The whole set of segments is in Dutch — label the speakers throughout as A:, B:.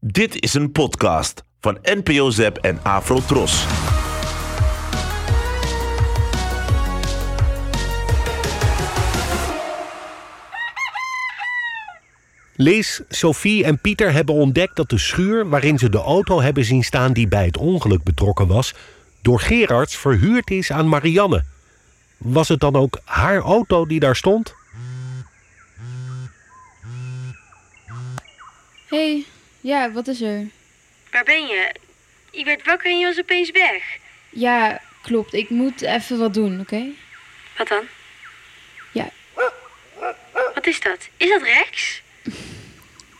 A: Dit is een podcast van NPO Zep en Afro Tros.
B: Liz, Sophie en Pieter hebben ontdekt dat de schuur waarin ze de auto hebben zien staan die bij het ongeluk betrokken was, door Gerards verhuurd is aan Marianne. Was het dan ook haar auto die daar stond?
C: Hé, hey, ja, wat is er?
D: Waar ben je? Ik werd wakker en je was opeens weg.
C: Ja, klopt. Ik moet even wat doen, oké?
D: Wat dan?
C: Ja.
D: Wat is dat? Is dat Rex?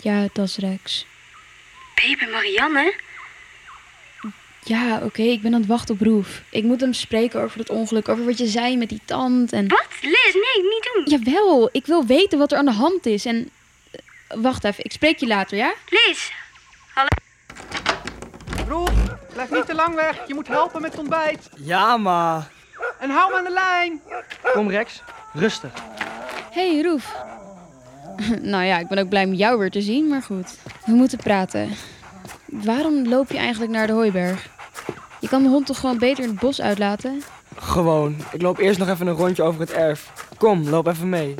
C: Ja, dat is Rex.
D: Ben je bij Marianne?
C: Ja, oké, ik ben aan het wachten op Roef. Ik moet hem spreken over het ongeluk, over wat je zei met die tand en...
D: Wat? Liz, nee, niet doen.
C: Jawel, ik wil weten wat er aan de hand is en... eh, Wacht even, ik spreek je later, ja?
D: Liz,
E: Roel, blijf niet te lang weg. Je moet helpen met het ontbijt.
F: Ja, maar.
E: En hou me aan de lijn.
F: Kom, Rex. Rustig.
C: Hey, Roef. nou ja, ik ben ook blij om jou weer te zien, maar goed. We moeten praten. Waarom loop je eigenlijk naar de hooiberg? Je kan de hond toch gewoon beter in het bos uitlaten?
F: Gewoon. Ik loop eerst nog even een rondje over het erf. Kom, loop even mee.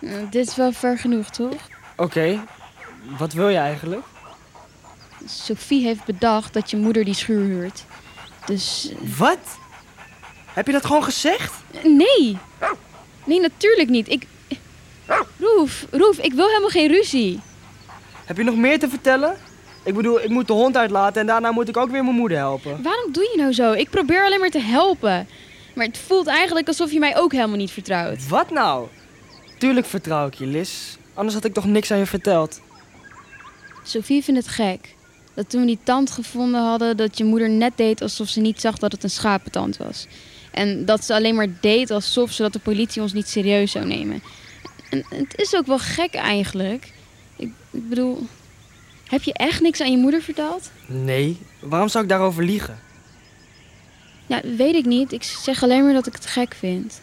C: Eh, dit is wel ver genoeg, toch?
F: Oké. Wat wil je eigenlijk?
C: Sophie heeft bedacht dat je moeder die schuur huurt. Dus eh,
F: Wat? Heb je dat gewoon gezegd?
C: nee. Nee, natuurlijk niet. Ik. Roef, Roef, ik wil helemaal geen ruzie.
F: Heb je nog meer te vertellen? Ik bedoel, ik moet de hond uitlaten en daarna moet ik ook weer mijn moeder helpen.
C: Waarom doe je nou zo? Ik probeer alleen maar te helpen. Maar het voelt eigenlijk alsof je mij ook helemaal niet vertrouwt.
F: Wat nou? Tuurlijk vertrouw ik je, Liz. Anders had ik toch niks aan je verteld.
C: Sophie vindt het gek dat toen we die tand gevonden hadden, dat je moeder net deed alsof ze niet zag dat het een schapentand was. En dat ze alleen maar deed alsof zodat de politie ons niet serieus zou nemen. En het is ook wel gek eigenlijk. Ik, ik bedoel, heb je echt niks aan je moeder verteld?
F: Nee. Waarom zou ik daarover liegen?
C: Ja, weet ik niet. Ik zeg alleen maar dat ik het gek vind.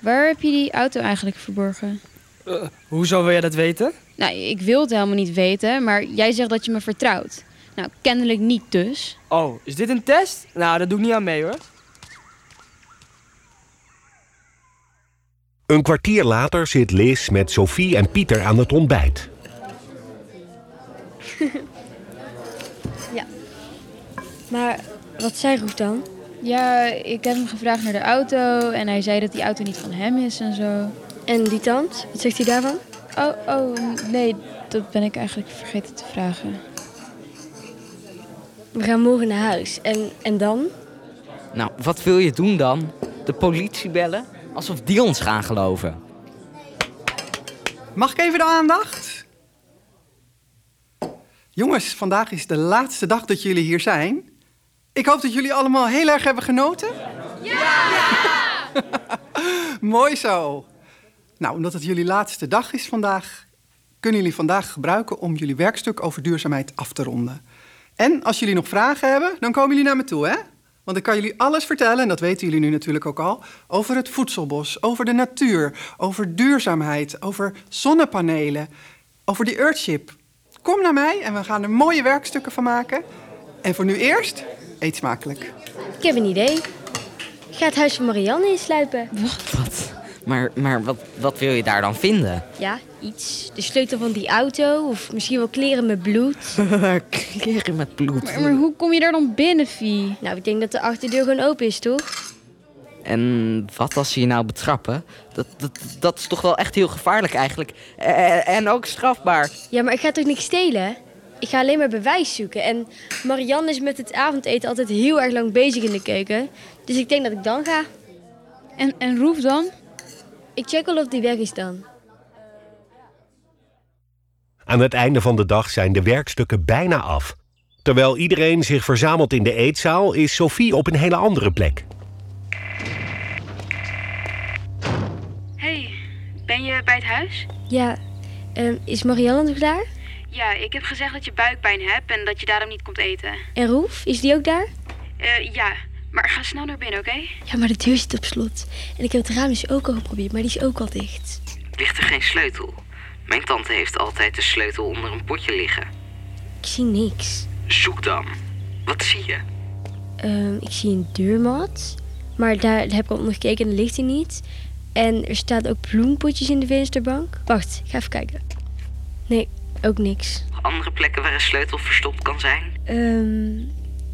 C: Waar heb je die auto eigenlijk verborgen?
F: Eh, hoezo wil jij dat weten?
C: Nou, ik wil het helemaal niet weten, maar jij zegt dat je me vertrouwt. Nou, kennelijk niet dus.
F: Oh, is dit een test? Nou, daar doe ik niet aan mee hoor.
B: Een kwartier later zit Liz met Sophie en Pieter aan het ontbijt.
D: Maar wat zei Roef dan?
C: Ja, ik heb hem gevraagd naar de auto en hij zei dat die auto niet van hem is en zo.
D: En die tand? Wat zegt hij daarvan?
C: Oh, oh, nee, dat ben ik eigenlijk vergeten te vragen.
D: We gaan morgen naar huis. En, en dan?
G: Nou, wat wil je doen dan? De politie bellen? Alsof die ons gaan geloven.
E: Mag ik even de aandacht? Jongens, vandaag is de laatste dag dat jullie hier zijn. Ik hoop dat jullie allemaal heel erg hebben genoten. Ja! Mooi zo. Nou, omdat het jullie laatste dag is vandaag, kunnen jullie vandaag gebruiken om jullie werkstuk over duurzaamheid af te ronden. En als jullie nog vragen hebben, dan komen jullie naar me toe, hè? Want ik kan jullie alles vertellen, en dat weten jullie nu natuurlijk ook al, over het voedselbos, over de natuur, over duurzaamheid, over zonnepanelen, over die Earthship. Kom naar mij en we gaan er mooie werkstukken van maken. En voor nu eerst, eet smakelijk.
D: Ik heb een idee. Ik ga het huis van Marianne insluipen.
G: Wat? Maar, maar wat, wat wil je daar dan vinden?
D: Ja, iets. De sleutel van die auto. Of misschien wel kleren met bloed.
G: Kleren met bloed.
C: Maar, maar hoe kom je daar dan binnen, Vie?
D: Nou, ik denk dat de achterdeur gewoon open is, toch?
G: En wat als ze je nou betrappen? Dat, dat, dat is toch wel echt heel gevaarlijk eigenlijk. En, en ook strafbaar.
D: Ja, maar ik ga toch niks stelen? Ik ga alleen maar bewijs zoeken. En Marianne is met het avondeten altijd heel erg lang bezig in de keuken. Dus ik denk dat ik dan ga.
C: En, en Roef dan?
D: Ik check al of die weg is dan.
B: Aan het einde van de dag zijn de werkstukken bijna af. Terwijl iedereen zich verzamelt in de eetzaal, is Sophie op een hele andere plek.
D: hey, ben je bij het huis? Ja. Ehm, is Marianne nog daar?
H: Ja, ik heb gezegd dat je buikpijn hebt en dat je daarom niet komt eten.
D: En Roef, is die ook daar?
H: Eh, ja, maar ga snel naar binnen, oké?
D: Ja, maar de deur zit op slot. En ik heb het raam dus ook al geprobeerd, maar die is ook al dicht.
G: Ligt er geen sleutel? Mijn tante heeft altijd de sleutel onder een potje liggen.
D: ik zie niks.
I: Zoek dan. Wat zie je?
D: Ehm, ik zie een deurmat, maar daar heb ik al onder gekeken en dat ligt hij niet. En er staan ook bloempotjes in de vensterbank. Wacht, ik ga even kijken. Nee, ook niks.
I: Andere plekken waar een sleutel verstopt kan zijn?
D: Ehm,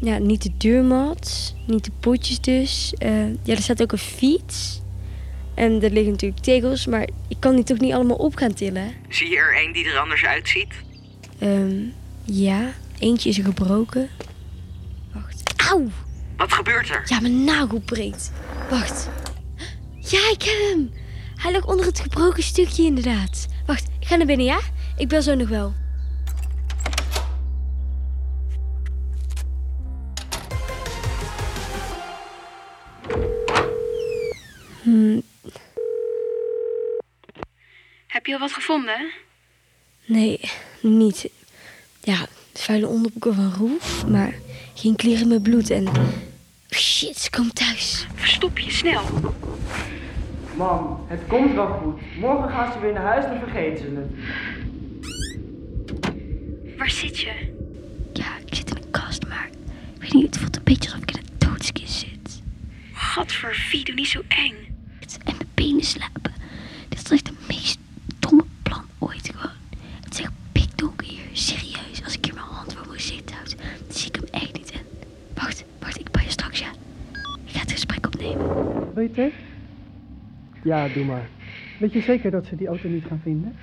D: ja, niet de deurmat, niet de potjes dus. Eh, ja, er staat ook een fiets. En er liggen natuurlijk tegels, maar ik kan die toch niet allemaal op gaan tillen.
I: Zie je er een die er anders uitziet?
D: Ehm, ja, eentje is er gebroken. Wacht. Auw!
I: Wat gebeurt er?
D: Ja, mijn nagel breekt. Wacht. Ja, ik heb hem. Hij lag onder het gebroken stukje inderdaad. Wacht, ik ga naar binnen, ja? Ik bel zo nog wel. Hmm,
H: Heb je al wat gevonden?
D: nee, niet. Ja, vuile onderbroeken van Roef, maar geen kleren met bloed en... Oh, Shit, ze komt thuis.
H: Verstop je snel.
F: Mam, het komt wel goed. Morgen gaan ze weer naar huis en vergeten ze het.
H: Waar zit je?
D: Ja, ik zit in een kast, maar ik weet niet, het voelt een beetje alsof ik in een doodskist zit.
H: Gadver, Vie, doe niet zo eng.
D: En mijn benen slapen. Dit is echt het meest domme plan ooit gewoon. Het is echt pikdonker hier, serieus. Als ik hier mijn hand voor mijn zit houd, dan zie ik hem echt niet. En wacht, wacht, ik bel je straks, ja. Ik ga het gesprek opnemen.
E: Wil je thee?
F: Ja, doe maar.
E: Weet je zeker dat ze die auto niet gaan vinden?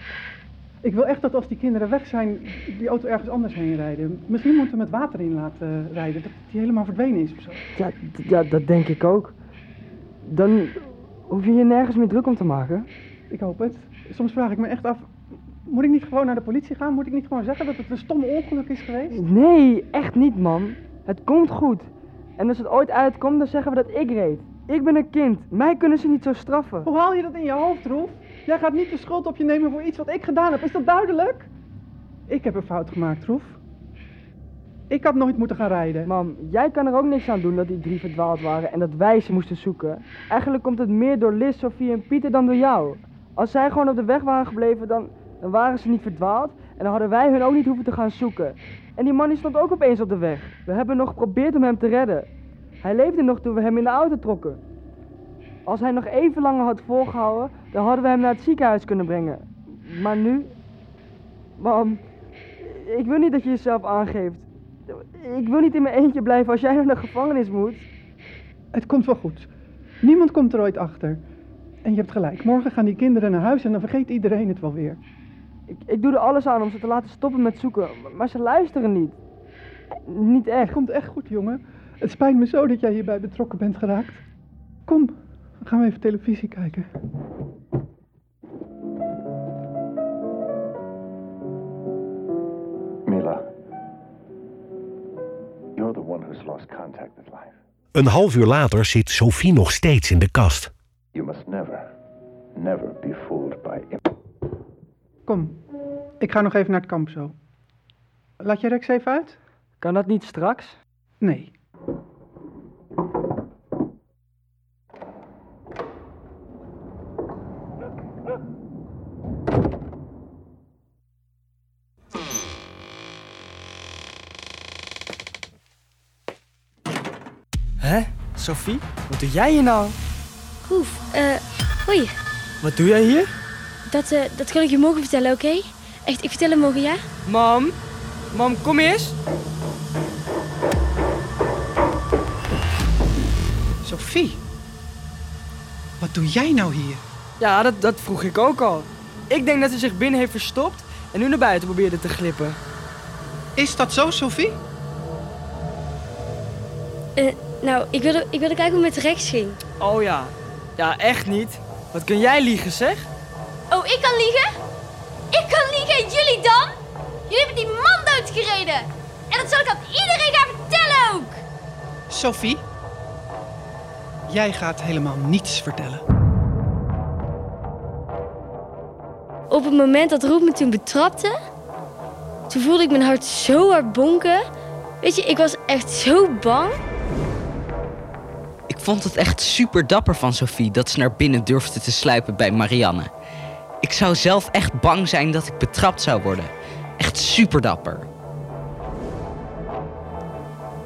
E: Ik wil echt dat als die kinderen weg zijn, die auto ergens anders heen rijden. Misschien moeten we het water in laten rijden, dat die helemaal verdwenen is of zo.
F: Ja, d- ja, dat denk ik ook. Dan hoef je je nergens meer druk om te maken.
E: Ik hoop het. Soms vraag ik me echt af, moet ik niet gewoon naar de politie gaan? Moet ik niet gewoon zeggen dat het een stom ongeluk is geweest?
F: Nee, echt niet, man. Het komt goed. En als het ooit uitkomt, dan zeggen we dat ik reed. Ik ben een kind. Mij kunnen ze niet zo straffen.
E: Hoe haal je dat in je hoofd, Roef? Jij gaat niet de schuld op je nemen voor iets wat ik gedaan heb. Is dat duidelijk? Ik heb een fout gemaakt, Roef. Ik had nooit moeten gaan rijden.
F: Mam, jij kan er ook niks aan doen dat die drie verdwaald waren en dat wij ze moesten zoeken. Eigenlijk komt het meer door Liz, Sofie en Pieter dan door jou. Als zij gewoon op de weg waren gebleven, dan, dan waren ze niet verdwaald en dan hadden wij hun ook niet hoeven te gaan zoeken. En die man die stond ook opeens op de weg. We hebben nog geprobeerd om hem te redden. Hij leefde nog toen we hem in de auto trokken. Als hij nog even langer had volgehouden, dan hadden we hem naar het ziekenhuis kunnen brengen. Maar nu. Mam, ik wil niet dat je jezelf aangeeft. Ik wil niet in mijn eentje blijven als jij naar de gevangenis moet.
E: Het komt wel goed. Niemand komt er ooit achter. En je hebt gelijk. Morgen gaan die kinderen naar huis en dan vergeet iedereen het wel weer.
F: Ik, ik doe er alles aan om ze te laten stoppen met zoeken, maar- maar ze luisteren niet. Niet
E: Het
F: echt.
E: komt echt goed, jongen. Het spijt me zo dat jij hierbij betrokken bent geraakt. Kom, dan gaan we even televisie kijken.
J: Mila, you're the one who's lost contact with life.
B: Een half uur later zit Sophie nog steeds in de kast.
J: You must never, never be fooled by im-
E: Kom, ik ga nog even naar het kamp zo. Laat je Rex even uit?
F: Kan dat niet straks?
E: Nee.
F: Hè? Sophie, wat doe jij hier nou?
D: Roef, eh, hoi.
F: Wat doe jij hier?
D: Dat, eh, dat kan ik je morgen vertellen, oké? Echt, ik vertel hem morgen, ja?
F: Mam, mam, kom eens.
E: Sophie, wat doe jij nou hier?
F: Ja, dat, dat vroeg ik ook al. Ik denk dat ze zich binnen heeft verstopt en nu naar buiten probeerde te glippen.
E: Is dat zo, Sophie?
D: Eh, nou, ik wilde, ik wilde kijken hoe het met Rex ging.
F: Oh ja. Ja, echt niet. Wat kun jij liegen, zeg?
D: Oh, ik kan liegen? Ik kan liegen en jullie dan? Jullie hebben die man doodgereden. En dat zal ik aan iedereen gaan vertellen ook.
E: Sophie? Jij gaat helemaal niets vertellen.
D: Op het moment dat Roep me toen betrapte, toen voelde ik mijn hart zo hard bonken. Weet je, ik was echt zo bang.
G: Ik vond het echt super dapper van Sophie dat ze naar binnen durfde te sluipen bij Marianne. Ik zou zelf echt bang zijn dat ik betrapt zou worden. Echt super dapper.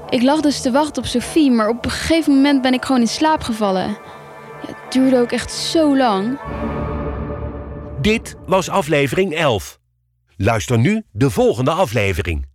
C: Ik lag dus te wachten op Sophie, maar op een gegeven moment ben ik gewoon in slaap gevallen. Ja, het duurde ook echt zo lang.
B: Dit was aflevering 11. Luister nu de volgende aflevering.